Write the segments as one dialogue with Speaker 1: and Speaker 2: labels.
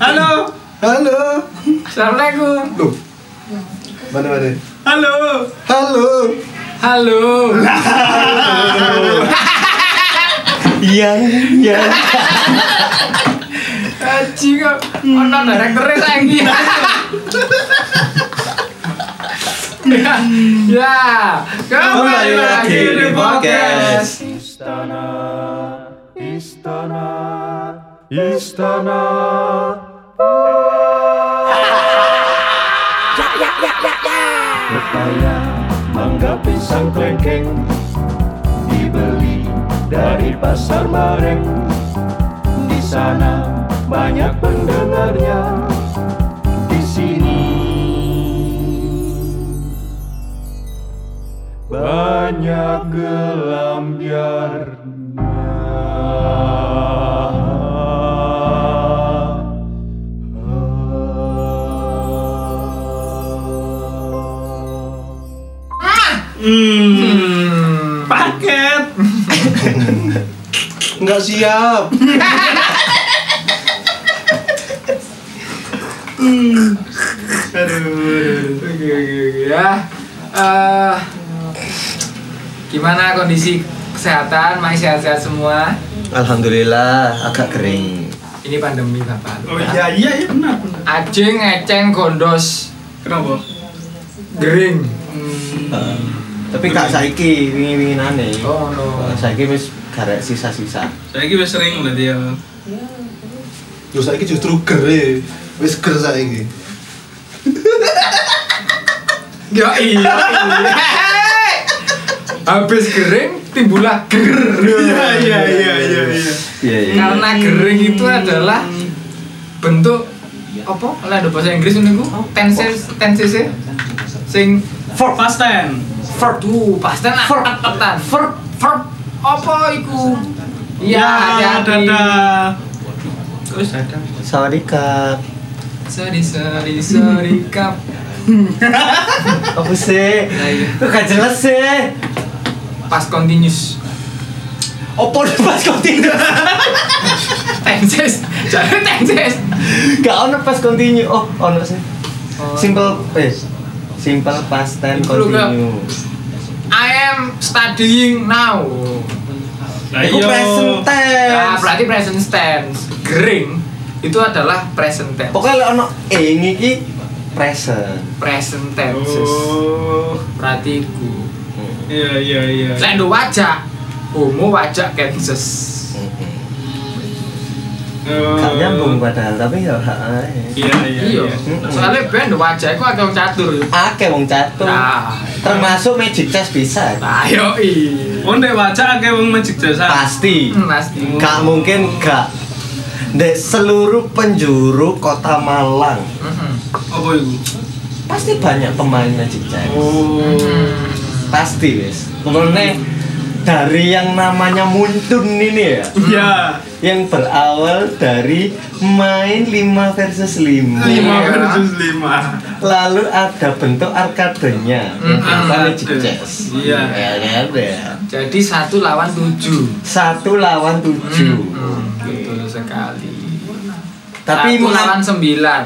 Speaker 1: Halo.
Speaker 2: Halo.
Speaker 1: Assalamualaikum.
Speaker 2: Loh. Mana mana?
Speaker 1: Halo.
Speaker 2: Halo.
Speaker 1: Halo.
Speaker 3: Yang yang
Speaker 1: Aji kok ono direkturnya saiki. Ya, ya, kembali lagi di podcast.
Speaker 3: Istana Istana Istana Pepaya mangga pisang klengkeng dibeli dari pasar bareng di sana banyak pendengarnya di sini banyak gelam
Speaker 1: Paket.
Speaker 2: Nggak siap.
Speaker 1: Oke, oke, oke, ya. Eh, gimana kondisi kesehatan? Masih sehat-sehat semua?
Speaker 3: Alhamdulillah agak kering.
Speaker 1: Ini pandemi bapak.
Speaker 4: Oh iya iya iya benar benar.
Speaker 1: Ajeng ngeceng gondos
Speaker 4: Kenapa?
Speaker 1: gering.
Speaker 3: Eh, tapi kak saiki wingi winginane.
Speaker 1: Oh no.
Speaker 3: Eh, Saiki wis garek sisa-sisa.
Speaker 4: Saya kira sering berarti ya.
Speaker 2: Terus saiki justru gere. Wis ger saiki.
Speaker 1: Ya iya. Habis kering timbullah ger.
Speaker 4: Iya iya iya iya iya.
Speaker 3: Iya
Speaker 1: Karena gering itu adalah bentuk apa? Lah ada bahasa Inggris niku tenses tensesnya sing
Speaker 4: For past ten.
Speaker 1: verb tuh pasti nak tetan verb verb ah, apa iku? Ya, hati-hati.
Speaker 4: dadah. Terus ada.
Speaker 3: Sorry kak.
Speaker 1: Sorry, sorry, sorry, kap.
Speaker 3: Apa sih?
Speaker 1: Nah, iya.
Speaker 3: Kok gak jelas sih?
Speaker 1: Pas continuous.
Speaker 3: Opo pas continue?
Speaker 1: Tenses, jadi tenses.
Speaker 3: Gak ono pas continue. Oh, ono sih.
Speaker 1: Oh.
Speaker 3: Simple eh simple past tense
Speaker 1: Iku lho, Kak.
Speaker 3: continue.
Speaker 1: I am studying now.
Speaker 4: Lah
Speaker 3: Iku present
Speaker 1: iya. Nah,
Speaker 3: tense.
Speaker 1: berarti present tense. Gering itu adalah present tense.
Speaker 3: Pokoknya lek ono ing iki present.
Speaker 1: present tense.
Speaker 4: Oh.
Speaker 1: Berarti ku.
Speaker 4: Iya iya iya.
Speaker 1: Lek ndo wajak, homo wajak tenses.
Speaker 3: Mm-mm.
Speaker 4: Oh.
Speaker 3: Gak nyambung padahal tapi ya hak ae.
Speaker 4: Iya iya
Speaker 1: Iya.
Speaker 4: iya.
Speaker 1: Soalnya ben ndo wajak iku agak catur.
Speaker 3: Akeh wong catur.
Speaker 1: Nah,
Speaker 3: Termasuk magic chess bisa. ya,
Speaker 1: ayo i.
Speaker 4: Oh ndek wajah akeh wong magic jasa.
Speaker 3: Pasti.
Speaker 1: Hmm, Pasti.
Speaker 3: Gak mungkin gak. Di seluruh penjuru kota Malang
Speaker 1: Mhm.
Speaker 4: Apa iku?
Speaker 3: pasti banyak pemain magic chess.
Speaker 4: Oh.
Speaker 3: Pasti wis. Pokoknya dari yang namanya Muntun ini ya
Speaker 4: Iya.
Speaker 3: yang berawal dari main 5 versus 5
Speaker 4: Lima
Speaker 1: Iya.
Speaker 4: versus lima.
Speaker 3: lalu ada bentuk arkadenya
Speaker 1: Mm,
Speaker 3: apa magic
Speaker 4: arkade.
Speaker 3: chess
Speaker 4: Iya.
Speaker 3: ya, kan, ya.
Speaker 1: Jadi satu lawan tujuh.
Speaker 3: satu lawan tujuh
Speaker 1: Hmm, Betul sekali.
Speaker 3: tapi
Speaker 1: satu
Speaker 3: mengapa
Speaker 1: lawan sembilan.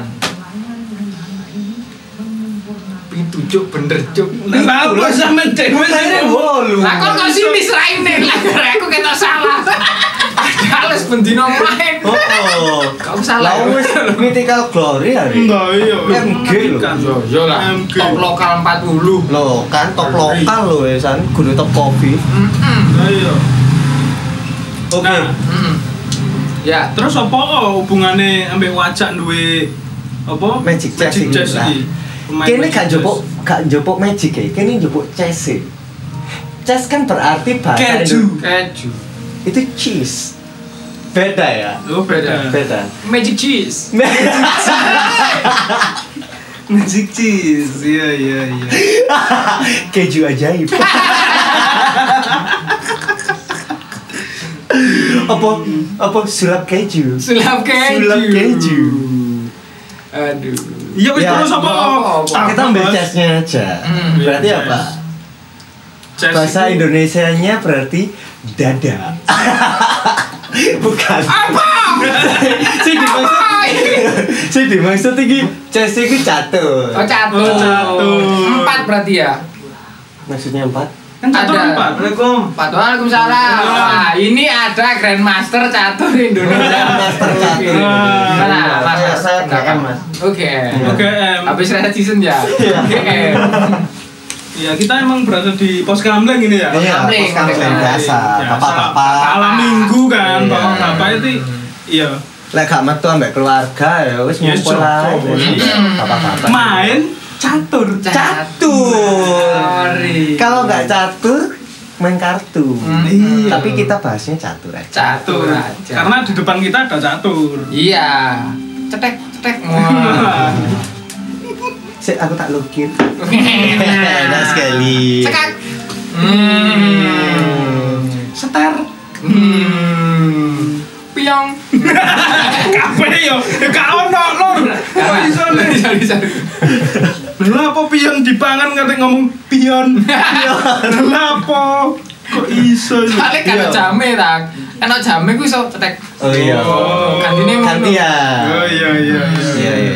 Speaker 1: Pitu cuk bener cuk.
Speaker 4: Lah kok sampe dhewe
Speaker 3: Pertanyaan
Speaker 4: sih?
Speaker 3: wolu.
Speaker 1: Lah kok kok sih misraine lah gara aku ketok salah. Ada les bendino main.
Speaker 3: Oh, oh.
Speaker 1: Kau salah.
Speaker 3: Lah wis mythical glory ya, hari.
Speaker 4: Enggak iya.
Speaker 3: MG lho.
Speaker 1: Yo yo lah.
Speaker 4: MG.
Speaker 1: Top lokal 40.
Speaker 3: Loh, kan top lokal lho ya san, kudu top kopi.
Speaker 1: Mm-mm.
Speaker 4: Lah iya.
Speaker 3: Oke.
Speaker 4: Nah,
Speaker 1: Mm-mm. Ya,
Speaker 4: Terus apa oh, hubungannya ambek wajak duwe apa?
Speaker 3: Magic chess
Speaker 4: Magic
Speaker 3: ini,
Speaker 4: chess
Speaker 3: lah.
Speaker 4: iki. Pemain
Speaker 3: Kene
Speaker 4: magic
Speaker 3: gak
Speaker 4: chess.
Speaker 3: jupuk gak jupuk magic ya. Kene jupuk chess. ya. Chess kan berarti bahasa
Speaker 4: Keju.
Speaker 3: Indo-
Speaker 1: keju.
Speaker 3: Itu cheese. Beda ya.
Speaker 4: Oh beda.
Speaker 3: Beda.
Speaker 1: Magic cheese.
Speaker 4: Magic cheese. Iya iya iya.
Speaker 3: Keju ajaib. apa apa sulap keju?
Speaker 1: Sulap keju.
Speaker 3: Sulap keju.
Speaker 1: Aduh.
Speaker 4: Iya wis
Speaker 3: Ya,
Speaker 4: terus apa?
Speaker 1: apa, apa.
Speaker 4: Tambah
Speaker 3: Kita ambil
Speaker 4: bahas-
Speaker 3: chessnya aja.
Speaker 1: Hmm,
Speaker 3: Berarti
Speaker 4: iya,
Speaker 3: apa?
Speaker 4: chess. chess
Speaker 3: Bahasa
Speaker 4: itu.
Speaker 3: Indonesianya berarti dada. Bukan.
Speaker 1: Apa?
Speaker 3: Sing dimaksud
Speaker 1: Apa ini?
Speaker 3: Sing dimaksud iki ces iki catur.
Speaker 1: Oh catur.
Speaker 4: Oh, catur.
Speaker 1: Empat berarti ya.
Speaker 3: Maksudnya empat.
Speaker 4: Kan catur
Speaker 1: Ada.
Speaker 4: empat.
Speaker 3: Assalamualaikum.
Speaker 1: Empat. Waalaikumsalam. Wah, ini ada Grandmaster catur Indonesia.
Speaker 3: Master
Speaker 1: Iya.
Speaker 3: catur. Iya.
Speaker 1: Gimana? Mas,
Speaker 3: Saya
Speaker 1: mas,
Speaker 3: saya
Speaker 1: pendapat?
Speaker 3: KM, Mas.
Speaker 1: Oke.
Speaker 4: Oke, em,
Speaker 1: Habis red season ya.
Speaker 3: Iya.
Speaker 1: Oke.
Speaker 4: ya kita emang berada di pos kamling ini ya.
Speaker 3: Iya,
Speaker 1: Kamling,
Speaker 3: pos kamling
Speaker 1: kamling.
Speaker 3: biasa. Bapak-bapak.
Speaker 4: Alam minggu kan,
Speaker 3: Iya.
Speaker 4: bapak-bapak itu iya
Speaker 3: Lek gak metu ambek keluarga ya wis
Speaker 4: Ya,
Speaker 3: ngumpul lah.
Speaker 4: cukup.
Speaker 3: Iya,
Speaker 1: Hmm.
Speaker 3: Bapak-bapak.
Speaker 4: main catur.
Speaker 3: Catur.
Speaker 1: Sorry.
Speaker 3: Kalau nggak catur main kartu.
Speaker 1: Hmm.
Speaker 3: Iya. Tapi kita bahasnya catur aja.
Speaker 1: Catur aja.
Speaker 4: Karena di depan kita ada catur.
Speaker 1: iya. Cetek, cetek. Wah.
Speaker 3: Sik aku tak lukir.
Speaker 1: Enak
Speaker 3: Enak Nah, sekali.
Speaker 1: Cekak. Hmm.
Speaker 4: Setar.
Speaker 1: Hmm. Piong.
Speaker 4: Kabeh yo, ya gak ono lur. Kok iso Lur?
Speaker 1: Bisa, bisa.
Speaker 4: Lha apa pion dipangan kate ngomong pion? Lha apa? Kok iso yo? Iya.
Speaker 1: Soalnya kan
Speaker 3: Iya.
Speaker 1: ada jame tang. Kan ada jame ku iso cetek.
Speaker 3: Oh iya.
Speaker 4: Oh.
Speaker 1: Gantine ngono.
Speaker 3: Gantian.
Speaker 4: Oh iya iya
Speaker 3: Iya
Speaker 4: iya.
Speaker 3: iya.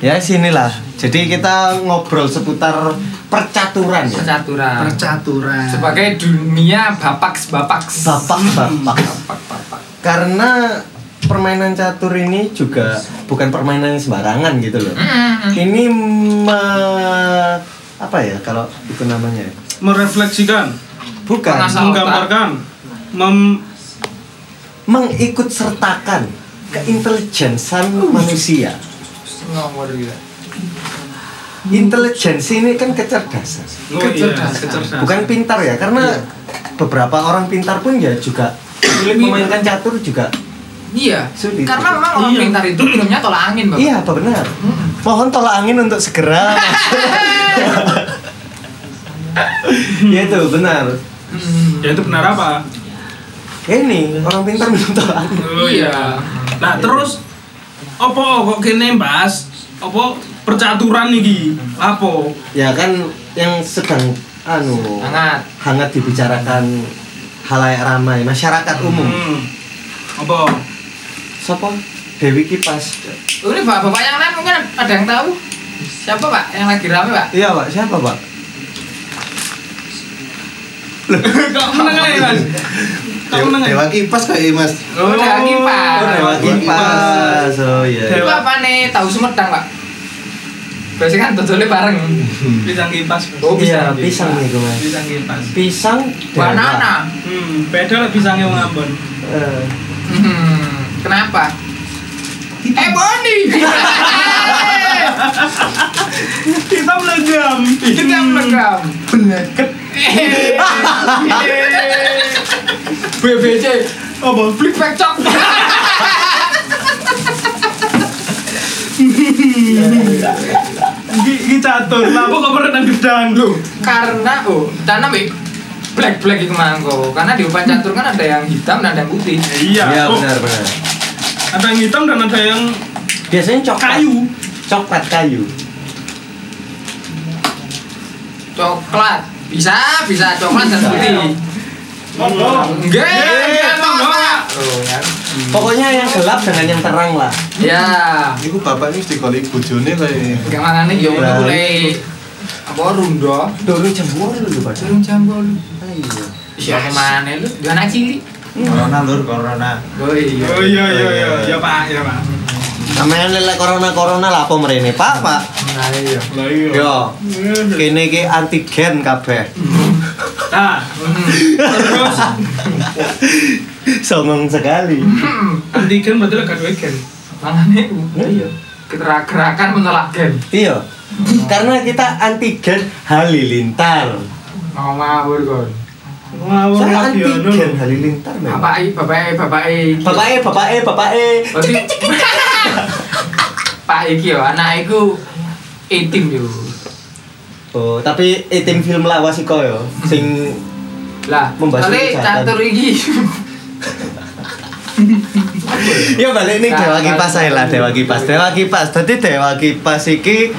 Speaker 3: iya. Ya sinilah. Jadi kita ngobrol seputar percaturan ya.
Speaker 1: Percaturan.
Speaker 4: Percaturan.
Speaker 1: Sebagai dunia bapaks bapaks.
Speaker 3: Bapak Hmm. bapak.
Speaker 1: Bapak bapak.
Speaker 3: Karena permainan catur ini juga bukan permainan yang sembarangan gitu loh. Ini me- apa ya kalau itu namanya? ya?
Speaker 4: Merefleksikan,
Speaker 3: Bukan
Speaker 1: Pengasah- Oh,
Speaker 4: menggambarkan,
Speaker 1: iya.
Speaker 4: mem
Speaker 3: mengikut sertakan keintelijensan manusia.
Speaker 1: Ngomor gitu.
Speaker 3: Intelijensi ini kan kecerdasan.
Speaker 4: Oh,
Speaker 1: Kecerdasan.
Speaker 4: iya, kecerdasan.
Speaker 3: Bukan pintar ya, karena beberapa orang pintar pun ya juga sulit memainkan catur juga.
Speaker 1: Iya.
Speaker 3: Sulit.
Speaker 1: Karena memang orang
Speaker 4: Iya.
Speaker 1: pintar itu filmnya tolak angin bapak.
Speaker 3: Iya, apa benar? Mohon tolak angin untuk segera. Iya itu benar.
Speaker 1: Hmm.
Speaker 4: Ya itu benar apa?
Speaker 3: Ini orang pintar minum tolak angin.
Speaker 4: Oh
Speaker 1: iya.
Speaker 4: Nah, terus apa kok kene bahas apa percaturan iki? Apa?
Speaker 3: Ya kan yang sedang anu
Speaker 1: Sangat.
Speaker 3: hangat dibicarakan halayak ramai masyarakat umum.
Speaker 4: Hmm. Apa?
Speaker 3: Sopo Dewi Kipas.
Speaker 1: Oh, Ini bapak bapak yang lain mungkin ada yang tahu. Siapa pak yang lagi rame pak?
Speaker 3: Iya pak, siapa pak?
Speaker 4: Kok meneng ae, Mas? Kok
Speaker 2: Dewa,
Speaker 4: meneng ae?
Speaker 2: Dewa kipas kayak mas.
Speaker 1: Oh, Dewa
Speaker 4: Ah,
Speaker 1: Kipas.
Speaker 3: Oh, Dewa Kipas. Oh iya.
Speaker 1: Itu
Speaker 4: Dewa.
Speaker 1: apa nih? Tahu Sumedang pak? Biasanya kan dodolnya bareng.
Speaker 4: Pisang kipas.
Speaker 1: Oh,
Speaker 3: Iya,
Speaker 1: pisang.
Speaker 3: pisang nih gue mas.
Speaker 4: Pisang kipas.
Speaker 3: Pisang. dewa.
Speaker 1: Banana.
Speaker 4: Hmm, beda lah pisangnya wong Ambon.
Speaker 3: Eh,
Speaker 1: Hmm. Kenapa? Eh Boni.
Speaker 4: Kita melegam.
Speaker 1: Kita
Speaker 4: Hmm.
Speaker 1: merekam. BBC
Speaker 4: Apa?
Speaker 1: Flick Back Chop
Speaker 4: Iki iki catur. Lah apa kok merenang gedang? Loh,
Speaker 1: Karena oh Karena Mik Black Black itu mangko Karena di umpan catur kan ada yang hitam dan ada yang putih
Speaker 4: Iya.
Speaker 3: Iya
Speaker 4: Oh,
Speaker 3: benar benar.
Speaker 4: Ada yang hitam dan ada yang
Speaker 3: Biasanya coklat.
Speaker 4: kayu.
Speaker 3: Coklat kayu.
Speaker 1: Coklat Bisa Bisa coklat dan putih
Speaker 4: Monggo.
Speaker 1: Enggak Enggak
Speaker 4: Enggak,
Speaker 1: Pak.
Speaker 4: enggak.
Speaker 1: Oh kan
Speaker 3: Pokoknya yang gelap dengan yang terang lah.
Speaker 1: Ya
Speaker 2: Iku bapak ini mesti kali bojone kayak.
Speaker 1: Enggak makanya ya udah
Speaker 3: Nah.
Speaker 1: mulai Apa rundo
Speaker 3: Doro jambore lho Pak.
Speaker 1: Jarum jambol
Speaker 3: Ayo.
Speaker 1: Siapa mana Iya, lu? Di mana cili?
Speaker 5: Corona lur, corona.
Speaker 1: Oh iya
Speaker 4: Oh iya iya iya. Ya Pak, ya Pak.
Speaker 3: Sampeyan lelek corona-corona lah apa mrene, Pak, Pak?
Speaker 1: Nah iya
Speaker 4: Lah iya.
Speaker 3: Yo, kene iki antigen kabeh.
Speaker 4: Nah, terus
Speaker 3: Songong sekali.
Speaker 4: antigen berarti lah gak gen.
Speaker 1: Makanya Hmm. itu
Speaker 3: Iya.
Speaker 1: Gerak-gerakan menolak gen
Speaker 3: Iya. Karena kita antigen halilintar.
Speaker 1: Mau ngawur kon
Speaker 4: Ngawur
Speaker 3: Saya
Speaker 4: lagi ya lho.
Speaker 3: antigen halilintar memang.
Speaker 1: Bapak I, bapak I, bapak I
Speaker 3: Iya. Bapak E, Bapak E, Bapak E.
Speaker 1: Berarti Pak Iki yo, anak iku etim yo.
Speaker 3: Oh, tapi etim film lawas iko yo. Sing
Speaker 1: Lah,
Speaker 3: Membasuh
Speaker 1: soalnya
Speaker 3: kejahatan.
Speaker 1: catur iki.
Speaker 3: Ya balik nih
Speaker 1: Nah,
Speaker 3: Dewa
Speaker 1: nah,
Speaker 3: Kipas ae lah
Speaker 1: nah,
Speaker 3: Dewa Kipas. Dewa Kipas. Tadi Dewa Kipas iki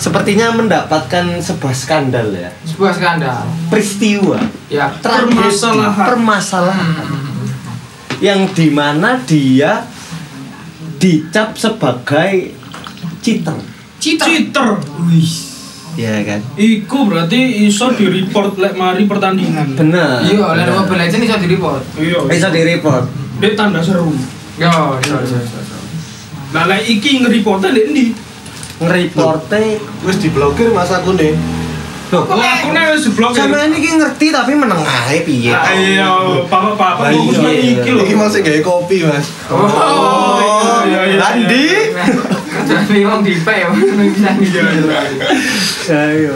Speaker 3: sepertinya mendapatkan sebuah skandal ya.
Speaker 1: Sebuah skandal.
Speaker 3: Peristiwa
Speaker 1: Ya.
Speaker 3: tragedi,
Speaker 4: Permasalahan.
Speaker 3: permasalahan
Speaker 1: Hmm.
Speaker 3: yang dimana dia dicap sebagai cheater
Speaker 1: Cita.
Speaker 4: Cheater. Wih.
Speaker 3: ya kan
Speaker 4: Iku berarti iso di report lek mari pertandingan.
Speaker 3: bener
Speaker 1: Iya, oleh
Speaker 3: bener.
Speaker 1: Mobile Legends bisa di-report.
Speaker 4: Iya.
Speaker 3: bisa di report
Speaker 4: Dia tanda seru.
Speaker 1: Yo, iya, iya, iya, iya.
Speaker 4: Lah lek iki nge-reportnya di endi?
Speaker 3: ngereportnya
Speaker 2: Wis diblokir mas aku nih.
Speaker 3: loh
Speaker 4: Kok aku nek wis diblokir.
Speaker 3: sama ini ki ngerti tapi meneng ae piye
Speaker 4: Ah, Iya, papa-papa
Speaker 2: Lah,
Speaker 4: fokus
Speaker 3: iya.
Speaker 4: mek iki lho.
Speaker 2: Iki masih gaya kopi mas.
Speaker 4: Oh, iya, iya,
Speaker 3: Landi.
Speaker 4: iya.
Speaker 1: Kerjaan memang di pay, ya. bisa
Speaker 4: Iya, iya.
Speaker 3: ayo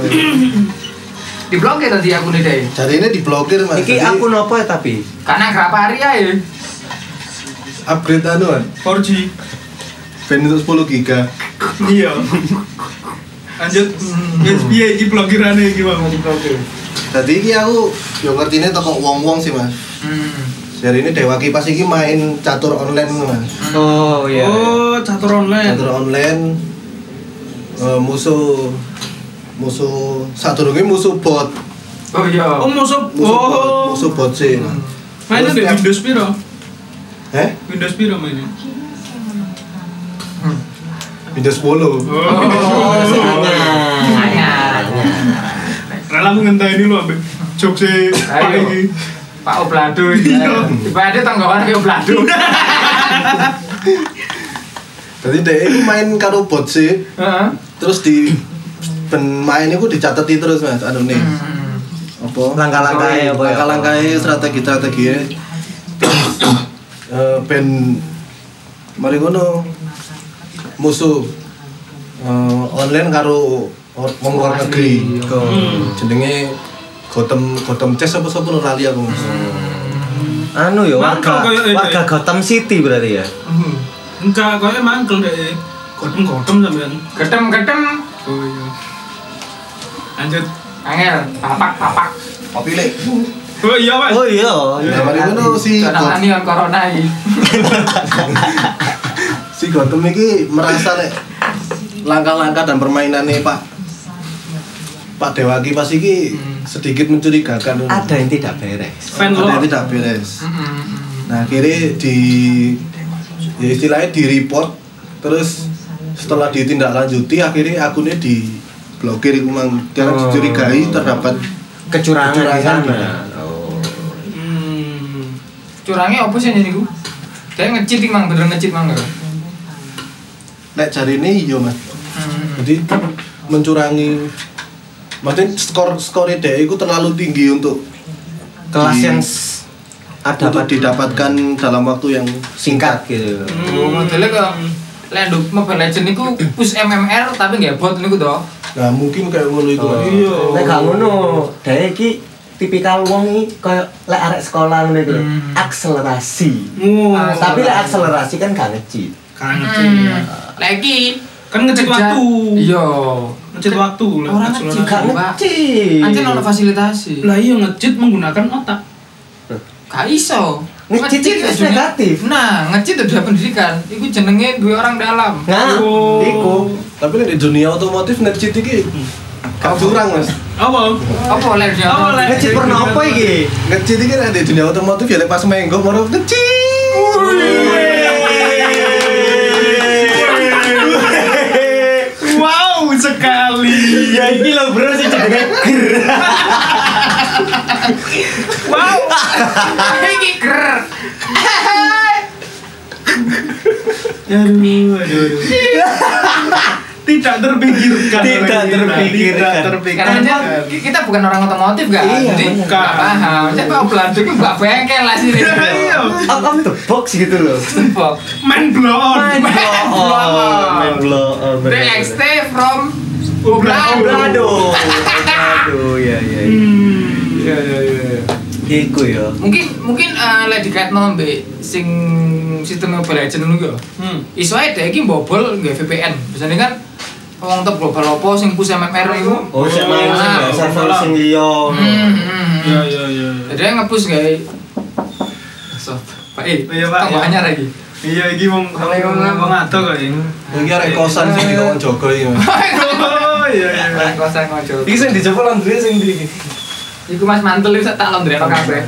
Speaker 1: Di blog ya tadi aku nih deh.
Speaker 2: Jadi ini diblokir mas.
Speaker 3: iki
Speaker 2: Jadi
Speaker 3: aku nopo ya tapi
Speaker 1: Karena kerap hari ya. ya.
Speaker 2: upgrade anu kan.
Speaker 4: 4G.
Speaker 2: Band untuk 10 giga.
Speaker 4: Iya. Lanjut.
Speaker 3: Hmm.
Speaker 4: Wis piye iki blokirane iki, Bang? Oh, Diblokir.
Speaker 2: Jadi iki aku yo ngertine toko wong-wong sih mas.
Speaker 1: Hmm.
Speaker 2: Jadi ini Dewa Kipas iki main catur online mas.
Speaker 3: oh iya
Speaker 4: Oh, catur online.
Speaker 2: Catur online eh, musuh musuh satu lagi musuh bot
Speaker 1: Oh iya.
Speaker 4: Oh, musuh.
Speaker 2: musuh bot
Speaker 4: Oh.
Speaker 2: musuh bot sih
Speaker 4: Mainnya di Windows piro?
Speaker 2: eh
Speaker 4: Windows piro mainnya?
Speaker 2: Windows 10
Speaker 1: Oh, Anyar.
Speaker 4: Rela aku ngenteni lu ambek jokes e Pak
Speaker 1: Ayo.
Speaker 4: iki.
Speaker 1: Pak Oblado. Iya. Tiba ada tanggapan Pak Oblado.
Speaker 2: jadi dia itu main karo bot sih
Speaker 1: Heeh.
Speaker 2: terus di pemain itu dicatat terus mas anu nih
Speaker 1: Hmm.
Speaker 2: apa
Speaker 3: Langkah-langkahnya apa ya?
Speaker 2: langkah-langkahnya strategi-strateginya ya. Eh, ben mari ngono musuh eh, online karo or- wong luar negeri
Speaker 1: Asli.
Speaker 4: Hmm.
Speaker 2: jenenge Gotham Gotham Chess apa sapa ora lali aku Mas.
Speaker 3: Hmm. anu ya
Speaker 4: Mantap
Speaker 3: warga
Speaker 4: kayak ini.
Speaker 3: warga Gotham City berarti ya
Speaker 4: Hmm. Enggak, koyo mangkel deh. Godem-godem sampean.
Speaker 1: Ketem ketem.
Speaker 4: Oh iya. Lanjut.
Speaker 1: Angel. Tapak tapak.
Speaker 2: Kopi lek.
Speaker 4: Oh iya, Pak.
Speaker 3: oh iya
Speaker 2: Nah, mari ngono si
Speaker 1: Karena
Speaker 2: Go-
Speaker 1: ini kan corona ini.
Speaker 2: si Gotham iki merasa lek langkah-langkah dan permainannya Pak Pak Dewa Kipas iki
Speaker 3: Hmm.
Speaker 2: sedikit mencurigakan.
Speaker 3: ada yang tidak beres
Speaker 4: Fan
Speaker 2: Ada
Speaker 4: lo.
Speaker 2: yang tidak beres.
Speaker 1: Hmm.
Speaker 2: Nah, akhirnya di ya istilahnya di report terus setelah ditindaklanjuti akhirnya akunnya di blokir iku mang karena
Speaker 3: Oh.
Speaker 2: dicurigai terdapat
Speaker 3: kecurangan, di
Speaker 2: Kecurangan.
Speaker 3: sana oh.
Speaker 4: Hmm.
Speaker 1: Curangnya apa sih ini gue? Saya ngecit mang bener ngecit mang. ya? nggak?
Speaker 2: lek jarine iya Mas.
Speaker 1: Hmm.
Speaker 2: Jadi mencurangi maksudnya skor skornya dia itu terlalu tinggi untuk
Speaker 3: kelas
Speaker 2: Di-
Speaker 3: yang s- ada
Speaker 2: dapat
Speaker 3: pada
Speaker 2: didapatkan dalam waktu yang
Speaker 3: singkat gitu
Speaker 1: Oh, modelnya kok Lendo Mobile Legends niku push MMR tapi nggak bot niku toh.
Speaker 2: nah mungkin kayak ngono itu
Speaker 3: Oh.
Speaker 4: Iya.
Speaker 3: Nek gak ngono, dhek iki tipikal wong iki koyo lek arek sekolah ngono iku lho,
Speaker 1: Hmm.
Speaker 3: akselerasi.
Speaker 4: Wow.
Speaker 1: Ah,
Speaker 3: Tapi lek akselerasi kan gak ngecit.
Speaker 4: Kangen sih.
Speaker 1: Hmm. Lagi
Speaker 4: Kan ngecek
Speaker 1: kejar-
Speaker 4: waktu.
Speaker 1: Iya.
Speaker 4: Ngecek waktu lah.
Speaker 1: Orang
Speaker 4: Ngecek
Speaker 1: ngecek
Speaker 4: waktu.
Speaker 1: gak
Speaker 3: Gak
Speaker 1: Pak.
Speaker 3: ngecit.
Speaker 1: Anjir ono fasilitasi.
Speaker 4: Lah iya ngecit menggunakan otak.
Speaker 1: Gak iso.
Speaker 3: Ngecit itu
Speaker 1: wis dunia-
Speaker 3: negatif.
Speaker 1: Nah, ngecit udah pendidikan. Iku jenenge dua orang dalam.
Speaker 3: Nah,
Speaker 4: Oh.
Speaker 3: iku.
Speaker 2: tapi di dunia otomotif net cheat iki gak curang mas
Speaker 4: Apa?
Speaker 1: Apa oleh dia?
Speaker 4: Apa oleh?
Speaker 3: Ngecit pernah apa iki?
Speaker 2: net cheat iki nek di dunia otomotif ya lek pas menggo baru net
Speaker 4: Wow sekali.
Speaker 3: Ya iki lho bro sih jenenge.
Speaker 4: Wow.
Speaker 1: Iki ger.
Speaker 4: Aduh, aduh, aduh. Tidak terpikirkan. oleh
Speaker 3: Tidak
Speaker 4: kita.
Speaker 3: terpikirkan.
Speaker 4: Tidak terpikirkan.
Speaker 1: Karena dia- ki- kan kita bukan orang otomotif gak?
Speaker 3: Iya,
Speaker 1: Jadi
Speaker 3: bener.
Speaker 1: gak paham. Saya kok belanja itu gak bengkel lah sini.
Speaker 4: Iya, Iya.
Speaker 3: Out of the box gitu loh.
Speaker 1: Bok.
Speaker 4: Main bloon.
Speaker 3: Oh, main blow on.
Speaker 1: DXT from
Speaker 3: Obrado. Obrado ya ya. ya.
Speaker 4: Iya, iya, iya.
Speaker 3: Iku ya.
Speaker 1: mungkin mungkin eh lek dikaitno mbek sing sistem Mobile Legends ngono ya.
Speaker 4: Hmm.
Speaker 1: Iso ae dhek iki bobol nggawe VPN. Biasanya kan wong top global opo sing push MMR iku.
Speaker 3: Oh, sing main sing
Speaker 1: Ah,
Speaker 3: gak server
Speaker 4: malam.
Speaker 3: sing liya.
Speaker 1: Hmm, hmm,
Speaker 4: Iya,
Speaker 1: hmm.
Speaker 4: iya, iya.
Speaker 1: Jadi dia nge-push gawe So, Pak E,
Speaker 4: Iya, Pak,
Speaker 1: tambah
Speaker 4: iya.
Speaker 1: anyar lagi.
Speaker 4: Iya, iki wong
Speaker 1: Oleh wong
Speaker 4: wong wong ado kok ini.
Speaker 2: iki arek kosan sing dikon jogo iki mas
Speaker 4: Oh, iya, iya.
Speaker 1: Lek kosan ngojo.
Speaker 2: iki sing dicoba landri sing di
Speaker 1: Iku Mas mantul iso tak londreno kabeh.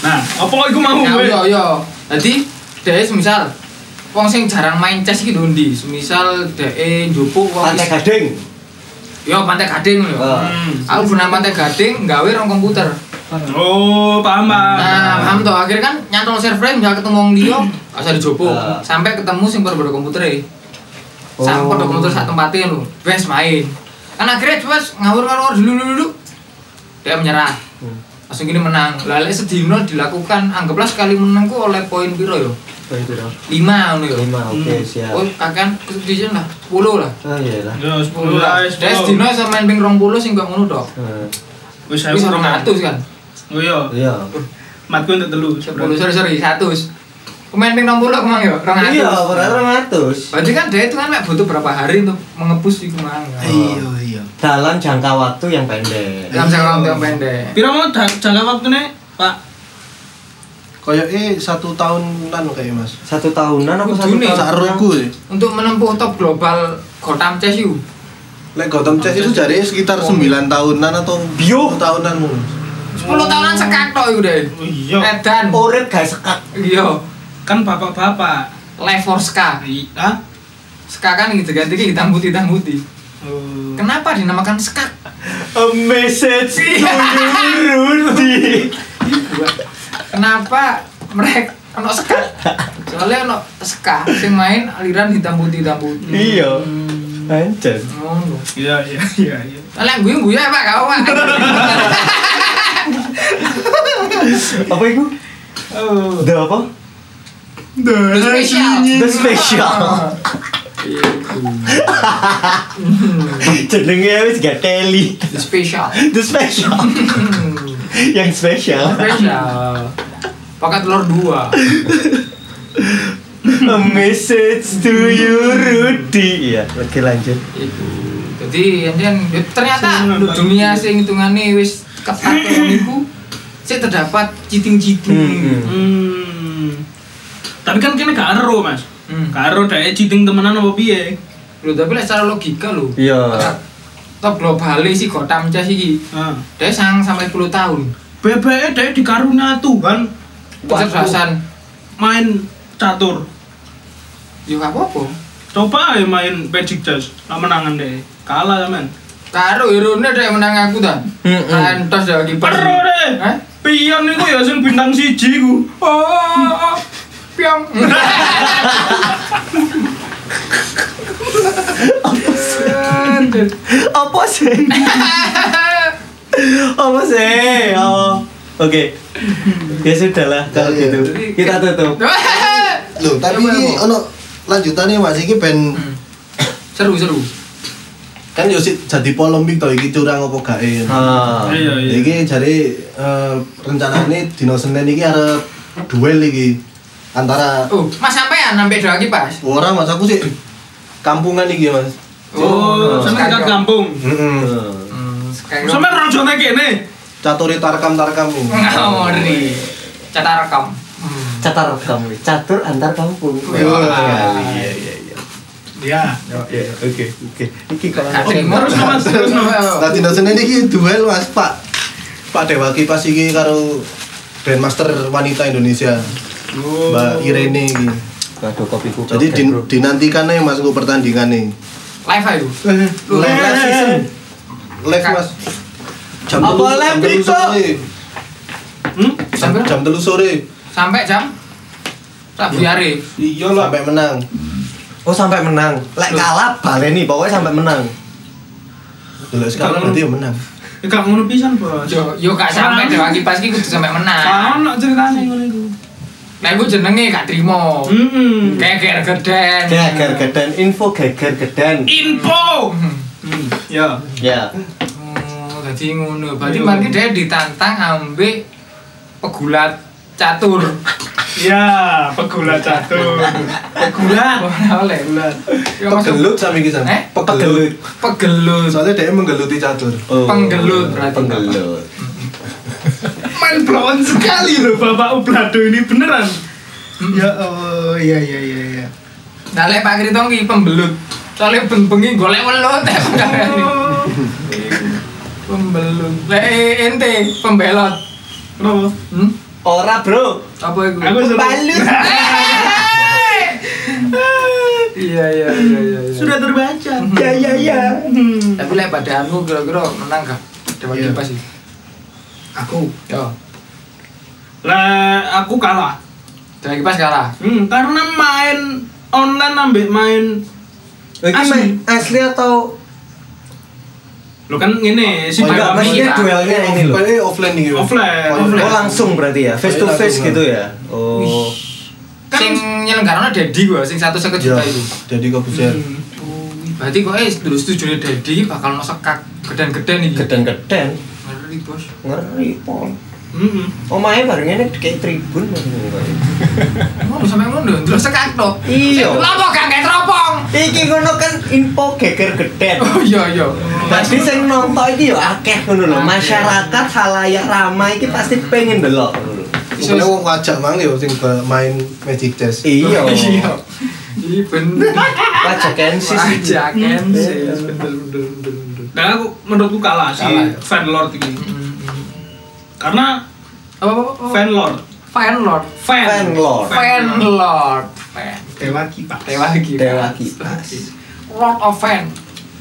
Speaker 4: Nah, apa kok iku mau
Speaker 1: Ya
Speaker 4: gue?
Speaker 1: yo yo. Dadi Dhewe semisal wong sing jarang main chess iki lho ndi? Semisal dhek njopo wong
Speaker 3: Pantai Gading.
Speaker 1: Yo pantai gading lho.
Speaker 3: Ah.
Speaker 1: Hmm. Aku pernah pantai gading gawe rong komputer.
Speaker 4: Oh, paham, Pak.
Speaker 1: Nah, paham toh akhirnya kan nyantol server misal ketemu wong liya asal dijopo
Speaker 3: Ah.
Speaker 1: sampai ketemu sing baru komputer e. Sampai
Speaker 3: Oh.
Speaker 1: pada komputer sak tempatnya lho. Wes main. Kan akhirnya wes ngawur-ngawur dulu dulu dulu. Dia menyerah. Langsung gini menang. Lalu sedino dilakukan anggaplah sekali menangku oleh poin piro yo.
Speaker 3: Oh, itu dong.
Speaker 1: 5 ngono yo.
Speaker 3: Lima, oke
Speaker 4: Hmm.
Speaker 3: siap.
Speaker 1: Oh, kakan kesudian lah. 10 lah.
Speaker 3: Oh iya lah.
Speaker 4: Ya,
Speaker 1: 10
Speaker 4: sepuluh
Speaker 1: lah.
Speaker 4: lah,
Speaker 1: Dia sedino
Speaker 4: sepuluh.
Speaker 1: iso main ping 20 sing kok ngono tok.
Speaker 3: Eh,
Speaker 4: Wis saya
Speaker 1: Wis
Speaker 4: kurang
Speaker 1: 200 kan.
Speaker 4: Oh iya,
Speaker 3: Iya.
Speaker 4: matku untuk telu.
Speaker 1: 10 sorry sorry 100. Pemain ping 60 kemang yo, 200.
Speaker 3: Iya, orang 100.
Speaker 1: Berarti kan dia itu kan mek butuh berapa hari untuk mengepus iku mang.
Speaker 3: Iya,
Speaker 4: iya.
Speaker 3: Dalam jangka waktu yang pendek.
Speaker 1: Dalam jangka waktu yang pendek.
Speaker 4: Pira mau da- jangka waktune, Pak?
Speaker 2: Kayak eh satu tahunan kayak mas.
Speaker 3: Satu tahunan apa satu
Speaker 1: Kudune,
Speaker 3: tahun?
Speaker 2: Sak eh. roku sih.
Speaker 1: Untuk menempuh top global Gotham Chess yuk.
Speaker 2: Lek Gotham Chess itu jari sekitar 9 tahunan atau
Speaker 3: Bio.
Speaker 2: tahunan mungkin.
Speaker 1: 10 tahunan sekak tok iku deh.
Speaker 4: Oh iya.
Speaker 1: Edan.
Speaker 3: Urip gak sekat.
Speaker 1: Iya.
Speaker 4: Kan bapak-bapak. ah?
Speaker 1: Live for Ska.
Speaker 4: I- Hah?
Speaker 1: Ska kan diganti ke hitam putih hitam putih.
Speaker 4: Oh.
Speaker 1: Kenapa dinamakan Skak?
Speaker 3: A message to you, Rudy.
Speaker 1: Kenapa mereka ono Skak? Soalnya ono Ska sing main aliran hitam putih hitam putih.
Speaker 3: Iya. Anjir.
Speaker 1: Ngono.
Speaker 4: Iya, iya, iya, iya.
Speaker 1: Lah gue gue ya Pak kau Pak.
Speaker 3: Apa itu?
Speaker 4: Oh.
Speaker 3: The apa?
Speaker 1: The special.
Speaker 3: The special. Jenenge wis gak teli.
Speaker 1: The special.
Speaker 3: The special. yang spesial.
Speaker 1: Special. Pakai telur dua.
Speaker 3: A message to you, Rudy. Iya, oke lanjut.
Speaker 1: Iku. Jadi anjen ya, ternyata dunia sing hitungane wis ketat ngono iku sih terdapat cheating-cheating.
Speaker 4: Hmm. Tapi kan kene gak ero, Mas.
Speaker 1: Hmm.
Speaker 4: Gak ero dhek cheating temenan apa piye?
Speaker 1: Lho Hmm. tapi lek secara logika lho.
Speaker 3: Iya.
Speaker 1: Top global si Gotham Chess iki
Speaker 4: Heeh.
Speaker 1: dia sang sampai 10 tahun.
Speaker 4: Bebeke dhek dikarunia E Tuhan
Speaker 1: Kecerdasan
Speaker 4: main catur.
Speaker 1: yo Ya gak apa-apa.
Speaker 4: Coba ae main Magic Chess, lah menangan dhek. Kalah sampean.
Speaker 1: Karo hero-ne dhek menang aku ta.
Speaker 3: Mm-mm.
Speaker 1: Kantos ya kiper.
Speaker 4: Perlu deh.
Speaker 1: Hah?
Speaker 4: Pion niku ya sing bintang siji ku.
Speaker 1: Oh, piang.
Speaker 3: Apa sih? Apa sih? Oh. Oke. Ya sudah lah kalau
Speaker 2: Ya, ya.
Speaker 3: gitu. Kita tutup.
Speaker 2: Loh, tapi
Speaker 1: Coba,
Speaker 2: ini
Speaker 1: Bo.
Speaker 2: ono lanjutannya Mas iki ben
Speaker 1: seru seru.
Speaker 2: kan yo sih jadi polemik to iki curang apa gak ya.
Speaker 3: Ah.
Speaker 4: Iya iya.
Speaker 2: Iki jare eh, rencanane dina Senin iki arep duel iki antara
Speaker 1: Oh, Mas sampean sampai doa lagi pas.
Speaker 2: orang Mas aku sih kampungan iki Mas. Eh,
Speaker 4: Oh, sampean tingkat kampung.
Speaker 2: Heeh.
Speaker 1: Hmm, sekarang.
Speaker 4: Sampean rojone kene.
Speaker 2: Caturi tarkam-tarkam ini.
Speaker 1: Ngawuri. Cetar rekam.
Speaker 4: Oh,
Speaker 1: Hmm.
Speaker 3: Catar kamu, catur antar kampung.
Speaker 1: Iya.
Speaker 2: Iya, iya, iya.
Speaker 4: Iya.
Speaker 3: Oke, oke, oke. Iki kalau
Speaker 1: Gak ada yang mau.
Speaker 4: terus, Mas, terus, Mas.
Speaker 2: Nah, dina Senin iki duel Mas Pak. Pak Dewa Kipas iki karo Grandmaster wanita Indonesia Mbak
Speaker 4: Oh.
Speaker 2: Irene iki.
Speaker 3: Waduh, kopiku.
Speaker 2: Jadi din dinantikan aja mas gue pertandingan nih.
Speaker 1: Live ayo.
Speaker 4: Eh,
Speaker 1: Lu-
Speaker 2: Live live season. Live mas. iya, Jam
Speaker 3: Apa
Speaker 2: telu-
Speaker 3: live,
Speaker 2: jam telu
Speaker 3: Riko?
Speaker 2: sore.
Speaker 4: Hmm?
Speaker 2: Jam, jam telu sore.
Speaker 1: Sampai jam Rabu hari.
Speaker 4: Iya lah.
Speaker 2: Sampai menang.
Speaker 3: Oh sampai menang. Lek kalah baleni pokoknya sampai menang.
Speaker 2: Dulu sekarang
Speaker 4: Kalau-
Speaker 2: berarti ya menang.
Speaker 4: Ya gak ngono pisan, Bos.
Speaker 1: Yo yo gak sampai doa lagi pas iki kudu sampai menang.
Speaker 4: Ono ceritane ngono iku.
Speaker 1: Nah, iku jenenge gak trimo.
Speaker 4: Heeh.
Speaker 1: Geger
Speaker 4: Iya.
Speaker 1: geden.
Speaker 3: Geger gedan info geger gedan.
Speaker 4: Info.
Speaker 1: Hmm.
Speaker 4: Ya.
Speaker 3: Ya.
Speaker 1: Oh, dadi ngono. Berarti
Speaker 4: Iya.
Speaker 1: mangke dia ditantang ambek pegulat catur.
Speaker 4: Ya, pegulat catur. Pegulat.
Speaker 1: Ora Oh, iya, oleh.
Speaker 4: Pegulat.
Speaker 1: Ya, maksud-
Speaker 2: Pegelut sama iki sama.
Speaker 1: Eh?
Speaker 2: Pegelut.
Speaker 1: Pegelut.
Speaker 2: Soalnya dia menggeluti catur. Iya,
Speaker 3: Oh.
Speaker 1: Penggelut berarti.
Speaker 3: Penggelut.
Speaker 4: Main blown sekali loh Bapak Ublado ini beneran. Ya oh iya iya iya iya.
Speaker 1: Nah, lek Pak Krito ki pembelut. Soale beng-bengi golek welut. eh, pendarani.
Speaker 4: Oh.
Speaker 1: Pembelut. Lek ente pembelot.
Speaker 4: Kenapa?
Speaker 1: Hmm?
Speaker 3: Ora, Bro.
Speaker 1: Apa iku?
Speaker 4: Aku seru.
Speaker 3: Balut.
Speaker 1: Iya,
Speaker 4: terbaca. Ya ya ya. Hmm.
Speaker 1: Tapi lek padaanmu kira-kira menang gak? Dewa
Speaker 4: Iya.
Speaker 1: kipas sih.
Speaker 4: Aku
Speaker 1: Yo,
Speaker 4: lah aku kalah.
Speaker 1: Dewa kipas kalah.
Speaker 4: Hmm, karena main online ambek main
Speaker 3: Ini
Speaker 4: Asli.
Speaker 3: main asli atau
Speaker 4: lo kan ini si
Speaker 2: Oh,
Speaker 3: enggak
Speaker 4: Bagami
Speaker 3: maksudnya
Speaker 1: iya.
Speaker 3: duelnya ini loh.
Speaker 2: Ini offline nih.
Speaker 4: Offline,
Speaker 2: Kalau-
Speaker 4: offline.
Speaker 3: Oh langsung berarti ya, face to
Speaker 2: Iya,
Speaker 3: face
Speaker 2: langsung.
Speaker 3: gitu ya. Oh.
Speaker 4: Kan-
Speaker 1: Sing nyelenggarana Dedi gua, sing satu seket
Speaker 2: Iya,
Speaker 1: juta itu.
Speaker 2: jadi kau bisa
Speaker 4: Hmm.
Speaker 1: Berarti kok eh terus tujuannya Dedi bakal masuk kak geden-geden iki.
Speaker 3: Geden-geden
Speaker 1: Ngeri, Bos.
Speaker 3: ngeri pol.
Speaker 4: Mm-mm.
Speaker 3: Omahe bareng ini kayak tribun maksudnya. Pak.
Speaker 1: Ngono sampe ngono, terus sekak tok.
Speaker 3: Iya.
Speaker 1: Lapo gak kayak teropong.
Speaker 3: Iki ngono kan info geger geden.
Speaker 1: Oh iya iya.
Speaker 3: Pasti sing nonton iki yo akeh ngono lho. Masyarakat halayak ramai iki pasti pengen delok ngono lho.
Speaker 1: Iso-
Speaker 2: Pokoknya wong ngajak mang ya sing bal- main magic chess.
Speaker 3: Iya.
Speaker 1: Iya. Iya bener.
Speaker 3: Wajah kensis iki.
Speaker 1: Aja kan sih.
Speaker 4: Dan aku menurutku kalah si
Speaker 1: Kalah, ya.
Speaker 4: fanlord ini. Karena
Speaker 1: Apa apa apa?
Speaker 4: fanlord,
Speaker 1: Fan Lord.
Speaker 4: fan,
Speaker 3: Fan lord.
Speaker 1: Fan Lord. Fan.
Speaker 4: dewa kipas,
Speaker 1: Dewa kipas.
Speaker 3: Dewa kipas.
Speaker 1: Lord of Fan.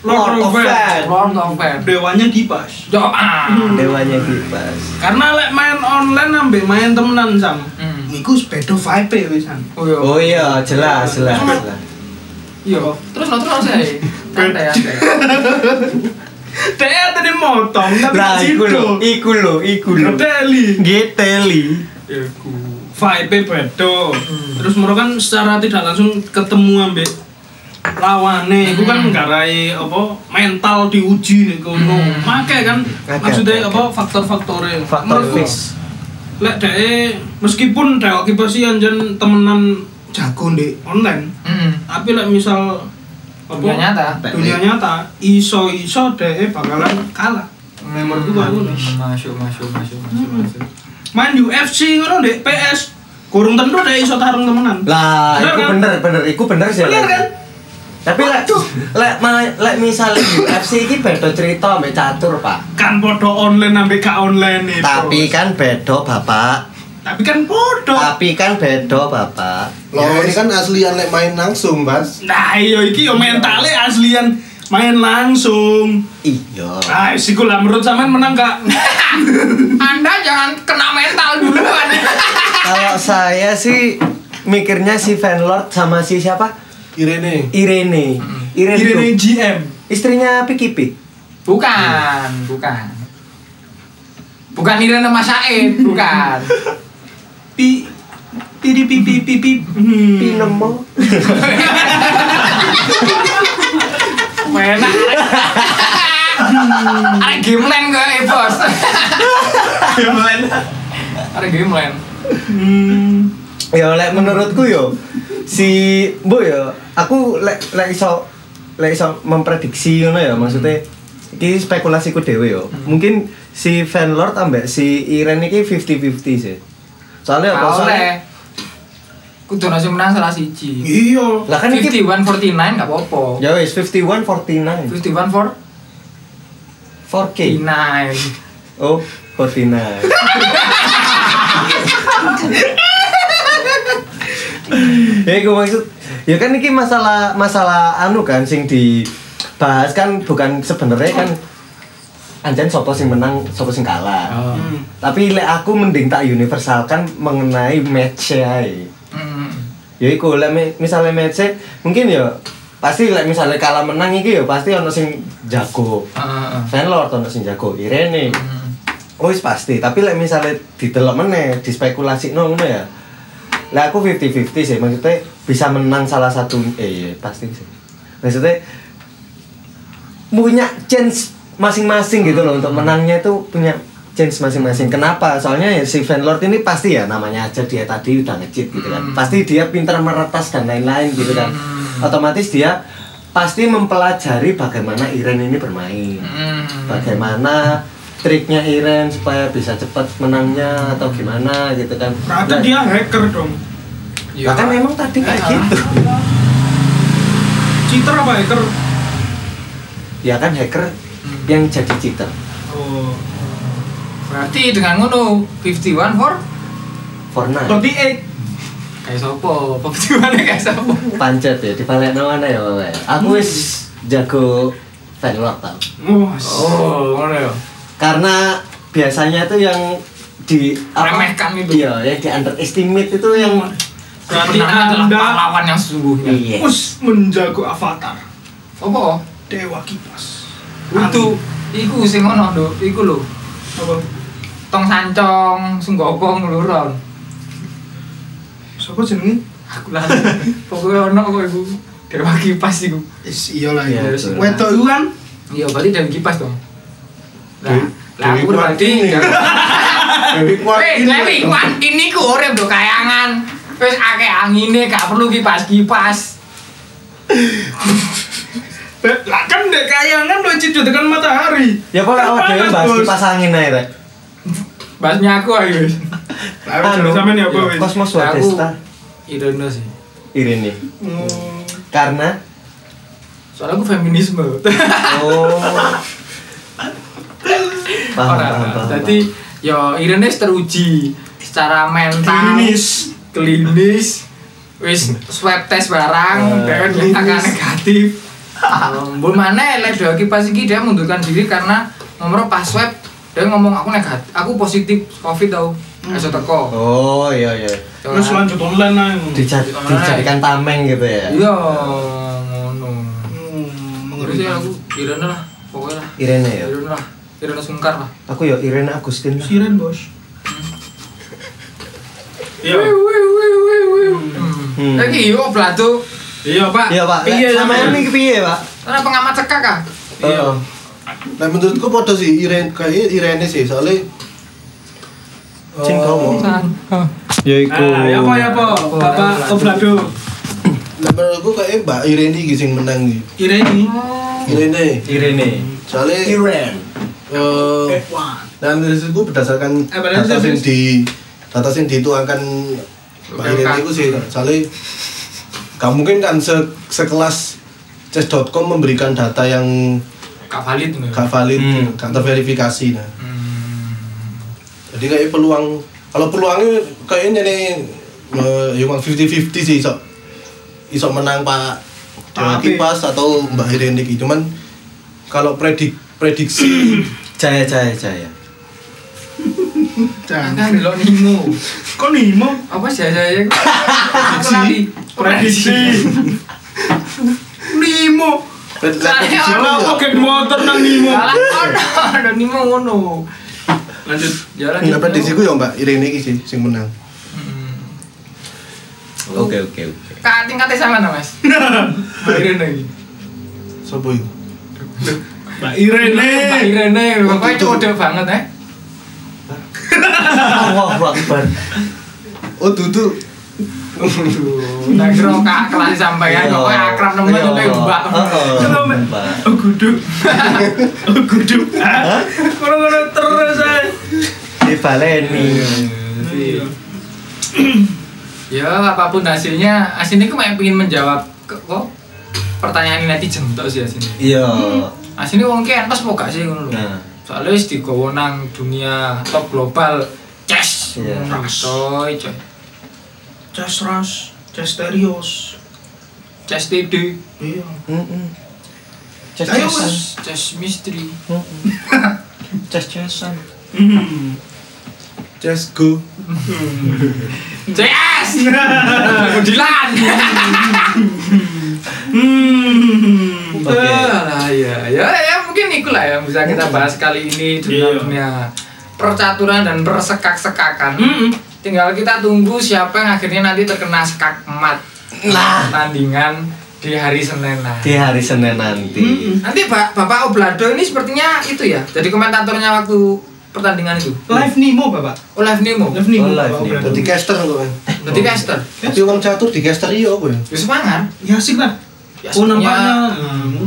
Speaker 4: lord of fan,
Speaker 1: Lord of Fan.
Speaker 4: dewanya kipas.
Speaker 1: Jawab ah.
Speaker 3: Dewanya kipas.
Speaker 4: Karena lek main online ambek main temenan sama.
Speaker 1: Hmm.
Speaker 4: Iku sepedo vibe wisan.
Speaker 1: Oh iya.
Speaker 3: Oh iya, jelas, jelas. jelas.
Speaker 1: Iya. Terus no terus ya. Santai santai.
Speaker 4: Dia tadi motong tapi
Speaker 3: Nah, iku lho,
Speaker 4: sido.
Speaker 3: iku lho, iku lho.
Speaker 4: Ngedeli.
Speaker 3: Geteli.
Speaker 4: Iku vibe bedo.
Speaker 3: Hmm.
Speaker 4: Terus moro kan secara tidak langsung ketemu ambek
Speaker 3: Hmm.
Speaker 4: lawane iku kan nggarai apa mental diuji nih kono. Make kan
Speaker 3: Ngakak,
Speaker 4: maksudnya
Speaker 3: ngakak.
Speaker 4: apa faktor-faktore.
Speaker 3: Hmm. Faktor
Speaker 4: Menurutku,
Speaker 3: fix.
Speaker 4: Lek dhek meskipun dhek kipas iki anjen temenan jago ndek online,
Speaker 1: Hmm.
Speaker 4: tapi lek misal apa,
Speaker 1: Dunia nyata.
Speaker 4: dunia nyata iso iso deh bakalan kalah menurutku aku nih
Speaker 1: Masuk masuk masuk masuk
Speaker 3: Hmm.
Speaker 1: masuk.
Speaker 4: main UFC ngono deh PS kurung tentu deh iso tarung temenan
Speaker 3: Lah,
Speaker 4: Bener
Speaker 3: iku
Speaker 4: kan?
Speaker 3: bener, bener, iku bener sih.
Speaker 4: Bener
Speaker 3: Lek.
Speaker 4: kan?
Speaker 3: Tapi lek lek ma- lek misale UFC iki beda cerita mbek catur, Pak.
Speaker 4: kan podo online ambek gak online nih
Speaker 3: Tapi kan beda, Bapak.
Speaker 4: tapi kan podo
Speaker 3: Tapi kan beda, Bapak.
Speaker 2: Loro ini kan aslian lek main langsung, Mas.
Speaker 4: nah iyo iki yo mentale aslian main langsung
Speaker 3: Iya.
Speaker 4: ah sih lah menurut sampean menang gak
Speaker 1: Anda jangan kena mental duluan.
Speaker 3: Kalau saya sih mikirnya si Vanlord sama si siapa?
Speaker 2: Irene.
Speaker 3: Irene. Irene,
Speaker 4: Hmm. Irene
Speaker 3: itu
Speaker 4: GM
Speaker 3: istrinya Piki Pik.
Speaker 1: bukan, bukan. Bukan Irene Mas Said, bukan.
Speaker 4: pi pi di pi pi pi pi hmm.
Speaker 3: Pinemo.
Speaker 1: Enak.
Speaker 3: Hmm.
Speaker 1: Ada game lain gue, eh, bos. Ada game lain.
Speaker 4: hmm.
Speaker 3: ya lek menurutku yo si bu yo aku lek lek iso lek iso memprediksi ngono ya maksudnya
Speaker 1: Hmm.
Speaker 3: iki spekulasiku dhewe yo mungkin si Vanlord ambek si Iren iki 50-50 sih soalnya apa
Speaker 1: Gak
Speaker 3: Ya, soalnya
Speaker 1: oleh. eh. Kudu nasi menang salah siji.
Speaker 4: iyo
Speaker 3: lah kan iki
Speaker 1: 51 49 enggak apa-apa.
Speaker 3: ya wis 51 49
Speaker 1: 51
Speaker 3: 4K
Speaker 1: 49.
Speaker 3: oh 49 ya gue maksud ya kan ini masalah masalah anu kan sing dibahas kan bukan sebenarnya kan anjen sopo sing menang sopo sing kalah
Speaker 1: Oh.
Speaker 4: Hmm.
Speaker 3: tapi lek aku mending tak universalkan mengenai match e ae
Speaker 1: Hmm.
Speaker 3: ya iku lek mi- misalnya match mungkin ya pasti lek misalnya kalah menang iki ya pasti ono sing jago
Speaker 1: Heeh.
Speaker 3: Fenlord ono sing jago Irene
Speaker 1: Heeh.
Speaker 3: Oh wis pasti, tapi lek misalnya didelok meneh, dispekulasi no ngono ya. Lah aku 50-50 sih, maksudnya bisa menang salah satu eh iya, pasti sih. Maksudnya punya chance masing-masing gitu loh untuk menangnya itu punya chance masing-masing. Kenapa? Soalnya ya si Vanlord ini pasti ya namanya aja dia tadi udah ngecit gitu kan. Pasti dia pintar meretas dan lain-lain gitu kan. Otomatis dia pasti mempelajari bagaimana Iren ini bermain
Speaker 1: Hmm.
Speaker 3: bagaimana triknya Iren supaya bisa cepat menangnya atau gimana gitu kan
Speaker 4: berarti dia Ya.
Speaker 3: Nah,
Speaker 4: hacker dong
Speaker 1: Iya.
Speaker 3: bahkan emang tadi kayak
Speaker 1: Iya.
Speaker 3: gitu
Speaker 4: cheater apa hacker
Speaker 3: ya kan hacker
Speaker 4: Hmm.
Speaker 3: yang jadi cheater
Speaker 4: oh
Speaker 1: Berarti dengan ngono 51 for
Speaker 3: for now
Speaker 4: Totti egg
Speaker 1: kayak sopo pepejuannya kayak sopo
Speaker 3: pancet ya di balik mana ya Bapak ya?
Speaker 4: Hmm.
Speaker 3: aku wis jago fanlord tau
Speaker 4: Wah,
Speaker 1: oh ngono ya
Speaker 3: karena biasanya tuh yang di
Speaker 1: Remehkan itu.
Speaker 3: iya yang di underestimate itu yang
Speaker 4: berarti
Speaker 1: Sebenarnya adalah
Speaker 4: Anda
Speaker 1: pahlawan yang sesungguhnya
Speaker 3: iya
Speaker 4: Hmm. us menjago avatar
Speaker 1: sopo
Speaker 4: Dewa Kipas.
Speaker 1: itu iku sing ngono lho iku lho
Speaker 4: Apa?
Speaker 1: tong sancong sunggokong lho ron
Speaker 4: Sopo jenenge?
Speaker 1: aku lah pokoknya ono kok iku dewa kipas iku
Speaker 4: Is iya lah
Speaker 3: Iya,
Speaker 4: iya.
Speaker 3: betul.
Speaker 4: Wetok iku kan
Speaker 1: iya berarti dewa kipas dong lah
Speaker 2: Dewi-
Speaker 1: lah aku
Speaker 2: Dewi
Speaker 1: berarti
Speaker 2: Kuan Dewi Kuan
Speaker 1: Weh,
Speaker 2: Yin.
Speaker 1: Dewi Kwan, ini ku urip do kayangan. Wis akeh angine, gak perlu kipas-kipas.
Speaker 4: Eh, lah kan dek kayangan lo cidut dengan matahari.
Speaker 3: ya kok
Speaker 4: Kan
Speaker 3: awak dhewe
Speaker 4: panas,
Speaker 3: bahas
Speaker 4: Bos.
Speaker 3: kipas angin aja rek
Speaker 1: Bahasnya aku ayo. wis.
Speaker 4: Lah wis jare sampean ya apa
Speaker 3: iya,
Speaker 4: wis.
Speaker 3: Cosmos
Speaker 1: Aku
Speaker 3: Wadesta
Speaker 1: Irono sih.
Speaker 3: Irini
Speaker 4: Hmm.
Speaker 3: karena
Speaker 1: Soalnya aku feminisme.
Speaker 3: oh paham
Speaker 1: Ora,
Speaker 3: paham paham
Speaker 1: Dadi yo Irene wis teruji secara mental,
Speaker 4: Klinis.
Speaker 1: klinis, wis swab test barang,
Speaker 3: Eh,
Speaker 1: dan nyatakan negatif. Mbul mana lek dhewe iki pas iki dia mundurkan diri karena nomor pas swab dia ngomong aku negatif, aku positif covid tau.
Speaker 3: Hmm.
Speaker 1: Iso teko.
Speaker 3: oh iya iya
Speaker 4: Terus
Speaker 1: Nah.
Speaker 4: lanjut online lah.
Speaker 3: Dijad, dijadikan tameng gitu ya
Speaker 1: Iya, ngono. Terus ya
Speaker 4: Mengerikan.
Speaker 1: aku Irene lah, pokoknya lah.
Speaker 3: Irene ya
Speaker 1: Irene lah. Irene Sungkar lah.
Speaker 3: aku ya Irene Agustin lah
Speaker 4: Siren, Bos. Iya.
Speaker 1: Hmm. Lagi yo Plato.
Speaker 4: Iya, Pak.
Speaker 3: iya pak
Speaker 4: Iya,
Speaker 3: Lek, sama
Speaker 4: sampean.
Speaker 3: ini piye pak
Speaker 1: Ora pengamat cekak kah?
Speaker 4: Iya.
Speaker 3: Oh.
Speaker 2: Nah menurutku podo sih Irene kayak Irene sih soalnya eh,
Speaker 3: Sing kamu.
Speaker 1: Kan.
Speaker 3: ya iku
Speaker 4: Nah, ya apa ya apa? Bapak Oblado.
Speaker 2: Nah menurutku kayak Mbak Irene iki sing menang iki.
Speaker 4: Irene.
Speaker 2: Irene
Speaker 3: Irene
Speaker 2: soalnya
Speaker 3: Irene
Speaker 2: eh,
Speaker 4: Wah.
Speaker 2: dan menurutku berdasarkan
Speaker 4: Eh, padahal
Speaker 2: data
Speaker 4: saya-
Speaker 2: sing di data sing dituangkan Mbak Irene iku sih soalnya gak mungkin kan se- sekelas chess.com memberikan data yang
Speaker 1: Kak valid nih.
Speaker 2: gak valid,
Speaker 3: Hmm.
Speaker 2: gak terverifikasi nah.
Speaker 1: Hmm.
Speaker 2: Jadi kayak peluang kalau peluangnya kayaknya nih eh, yang 50-50 sih sok isok menang Pak Dewa
Speaker 4: Tapi-
Speaker 2: Kipas atau Mbak Irene iki. Cuman kalau predik prediksi
Speaker 3: Jaya Jaya Jaya
Speaker 1: Kan delok nimu.
Speaker 4: Kok nimo?
Speaker 1: Apa sih saya Prediksi.
Speaker 4: Prediksi. Nimo.
Speaker 2: nah, prediksi
Speaker 1: Soalnya
Speaker 4: Jalan
Speaker 1: ono.
Speaker 4: kok geng motor nang nimo.
Speaker 1: Jalan ono. Ada nimu ngono.
Speaker 4: Lanjut.
Speaker 1: Jalan.
Speaker 2: Nah, prediksi ku ya Mbak Irene iki sih sing menang.
Speaker 1: Oke.
Speaker 3: oke oke
Speaker 1: Kak tingkatnya sama nah, Mas. Irene lagi.
Speaker 2: Sopo iku?
Speaker 4: Mbak Irene.
Speaker 1: Mbak Irene,
Speaker 3: Oh,
Speaker 1: pokoknya
Speaker 3: gitu.
Speaker 2: Tutup.
Speaker 1: cowok banget eh.
Speaker 3: Allahu Akbar
Speaker 2: Oh, Dudu.
Speaker 1: Tak kira kak kelas sampean pokoknya akrab nemen sampai mbak.
Speaker 3: Iya. Heeh, Mbak
Speaker 4: Oh guduk. Oh guduk. Hah? Ngono-ngono terus
Speaker 1: eh.
Speaker 4: ae.
Speaker 3: Di Baleni
Speaker 1: Iya. Ya apapun hasilnya, Asin itu memang ingin menjawab ke, kok pertanyaan netizen tok sih Asin.
Speaker 3: Iya
Speaker 1: Asin ini wong ki entes po gak sih ngono lho.
Speaker 3: Nah.
Speaker 1: Soalnya wis digawa nang dunia top global. Yes.
Speaker 3: Iya.
Speaker 1: Ngono, Coy, coy.
Speaker 4: Cas ras, cas terios.
Speaker 1: Yes TD.
Speaker 4: Iya.
Speaker 3: Mm-mm. Ces
Speaker 4: Ayo,
Speaker 3: cesan
Speaker 4: Mas.
Speaker 1: Yes misteri.
Speaker 3: Ces cesan
Speaker 4: Hmm.
Speaker 2: Just go.
Speaker 1: Yes. Kudilan.
Speaker 4: Hmm.
Speaker 3: Oke.
Speaker 1: Alah, ya, ya, ya mungkin ikulah yang bisa kita bahas kali ini
Speaker 4: Iya.
Speaker 1: tentang dunia percaturan dan persekak-sekakan.
Speaker 4: Hmm.
Speaker 1: Tinggal kita tunggu siapa yang akhirnya nanti terkena skak emat
Speaker 3: Nah.
Speaker 1: tandingan di hari Senin nanti.
Speaker 4: Iya.
Speaker 3: Di hari Senin nanti
Speaker 1: Nanti Pak Bapak Oblado ini sepertinya itu ya, jadi komentatornya waktu pertandingan itu.
Speaker 4: Live Nemo, Bapak.
Speaker 1: Oh, live Nemo.
Speaker 4: Live Nemo.
Speaker 3: Oh, live
Speaker 4: Bapak
Speaker 3: Nemo.
Speaker 4: Obrado.
Speaker 2: Dadi caster kok. kan.
Speaker 1: Berarti caster.
Speaker 2: Tapi wong catur di caster iya apa ya?
Speaker 1: Ya semangat.
Speaker 4: Ya asik lah.
Speaker 1: Ya,
Speaker 4: oh
Speaker 1: sebenarnya-
Speaker 4: nampaknya.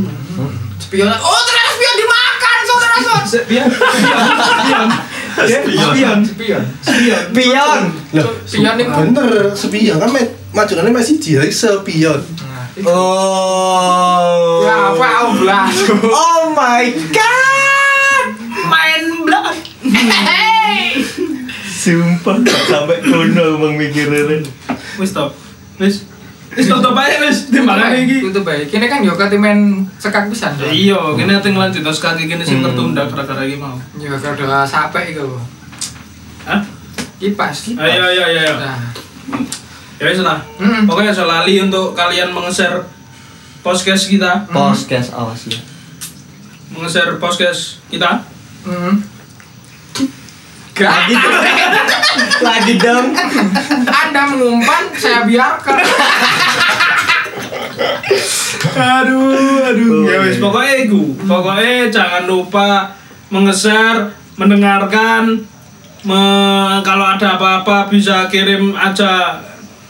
Speaker 1: Spion. Oh, ternyata spion dimakan, saudara-saudara.
Speaker 4: Spion. Spion.
Speaker 6: Ya,
Speaker 4: Spion.
Speaker 1: Spion.
Speaker 4: Spion.
Speaker 3: Pion
Speaker 2: Loh,
Speaker 1: Spion itu.
Speaker 2: bener sepion kan me- majuannya masih jadi sepion.
Speaker 1: Nah,
Speaker 3: Oh
Speaker 1: Ya apa Oblado?
Speaker 3: Oh my god
Speaker 4: Main belakang.
Speaker 1: Hei.
Speaker 3: Sumpah gak sampai kuno emang mikirin
Speaker 6: wis to. Wis. Wis to bae wis timbangane iki.
Speaker 1: Itu baik. Kene kan yo kate main sekak pisan.
Speaker 6: Ya Iya, kene ati ngelanjut terus kaki kene sing tertunda gara-gara iki mau.
Speaker 1: Yo kada sampai iku.
Speaker 6: Hah?
Speaker 1: Kipas.
Speaker 4: Iya.
Speaker 6: Ayo ayo ayo ayo.
Speaker 1: Nah,
Speaker 6: Ya wis lah.
Speaker 1: Hmm.
Speaker 6: Pokoknya aja lali untuk kalian meng-share podcast kita,
Speaker 3: Podcast awas ya.
Speaker 6: meng-share podcast kita.
Speaker 1: hmm. Gak.
Speaker 3: Lagi dong.
Speaker 1: Anda mengumpan, saya biarkan.
Speaker 6: aduh aduh ya wis pokoknya iku pokoknya jangan lupa mengeser mendengarkan me- kalau ada apa-apa bisa kirim aja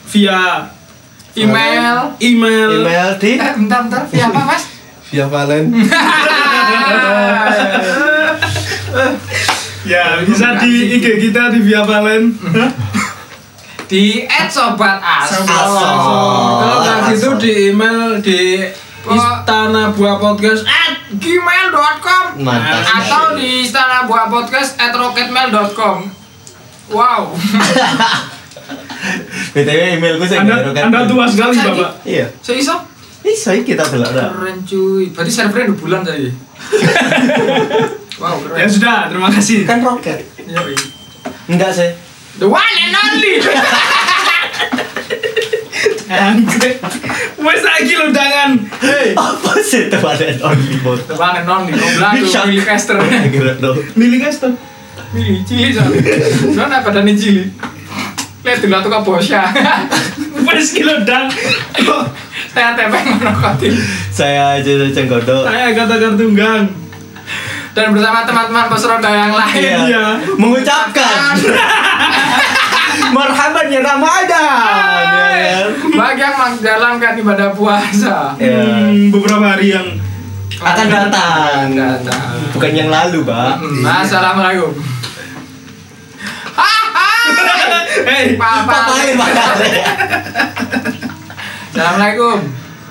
Speaker 6: via
Speaker 1: Email.
Speaker 6: email
Speaker 3: Email di
Speaker 1: Eh, bentar bentar. Via apa mas?
Speaker 2: Via Valen.
Speaker 6: ya bisa di IG kita di via Valen Hah?
Speaker 1: Di @sobatas.
Speaker 6: kalau nggak gitu di email di istana buah podcast
Speaker 1: at gmail.com
Speaker 3: Mantap.
Speaker 1: atau di istana buah podcast at rocketmail.com wow
Speaker 3: BTW emailku sing
Speaker 6: anda anda tua sekali bapak
Speaker 3: Iya.
Speaker 1: so iso
Speaker 3: Iso iki kita delok ora.
Speaker 1: keren cuy berarti servernya udah bulan tadi wow
Speaker 6: ya
Speaker 1: keren
Speaker 6: sudah terima kasih
Speaker 3: Kan roket.
Speaker 1: Iya, iya.
Speaker 3: Enggak sih.
Speaker 1: the one and only
Speaker 6: Anggrek. wes lagi kan? undangan hey
Speaker 3: Apa sih itu ada only bot?
Speaker 1: the one and only goblok
Speaker 3: Bisa.
Speaker 1: tuh caster
Speaker 3: Kira dong.
Speaker 6: milih guys tuh
Speaker 1: milih cili soalnya soalnya pada nih cili lihat dulu tuh kabosya
Speaker 6: wes kilo dang
Speaker 1: saya tepeng menokotin
Speaker 3: Saya aja cenggodo.
Speaker 6: saya katakan tunggang
Speaker 1: dan bersama teman-teman pesronda yang lain
Speaker 6: Iya.
Speaker 3: Mengucapkan marhaban ya Ramadan. ya kan?
Speaker 1: bagi yang menjalankan ibadah puasa
Speaker 3: Ya.
Speaker 6: Hmm, beberapa hari yang
Speaker 3: Akan datang.
Speaker 1: datang
Speaker 3: Bukan yang lalu, Pak.
Speaker 1: Hmm, Assalamualaikum.
Speaker 6: hey
Speaker 1: Papa.
Speaker 3: Papain, Pak.
Speaker 1: Assalamualaikum.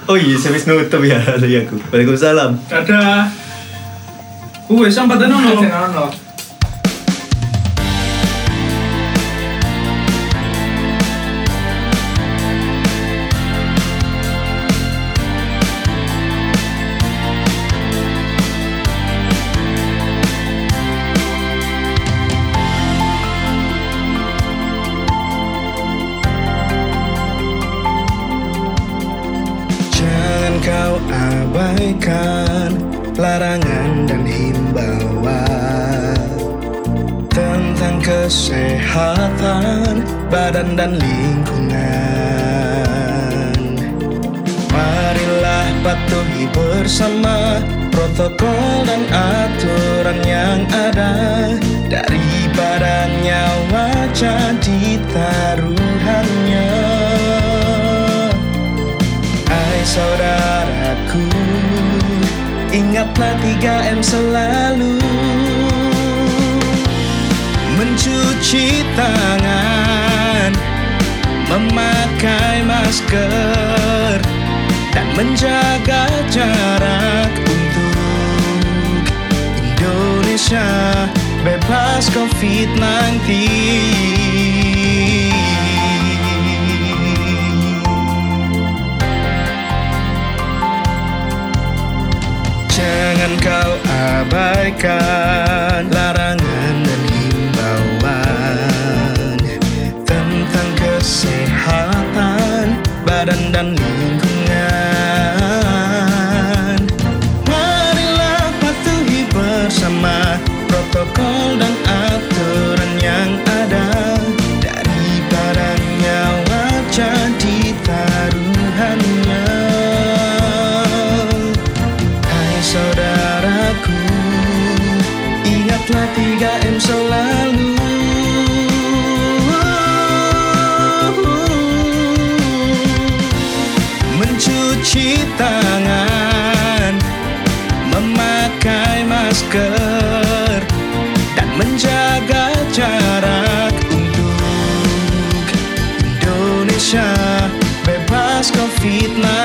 Speaker 3: Oh iya, saya wis nutup ya, ya aku. Waalaikumsalam.
Speaker 6: ada Uwe, sampai tenang loh.
Speaker 1: Senono.
Speaker 4: Jangan kau abaikan larangan dan himbauan tentang kesehatan badan dan lingkungan. Marilah patuhi bersama protokol dan aturan yang ada daripada nyawa jadi taruhannya. Hai saudaraku Ingatlah 3M selalu Mencuci tangan Memakai masker Dan menjaga jarak Untuk Indonesia Bebas COVID-19 Jangan kau abaikan larangan dan himbauan tentang kesehatan badan dan lingkungan. Marilah patuhi bersama protokol dan aturan yang ada daripada nyawa jadi taruhannya. Hai saudaraku Ingatlah 3M selalu Mencuci tangan Memakai masker Dan menjaga jarak Untuk Indonesia Bebas COVID-19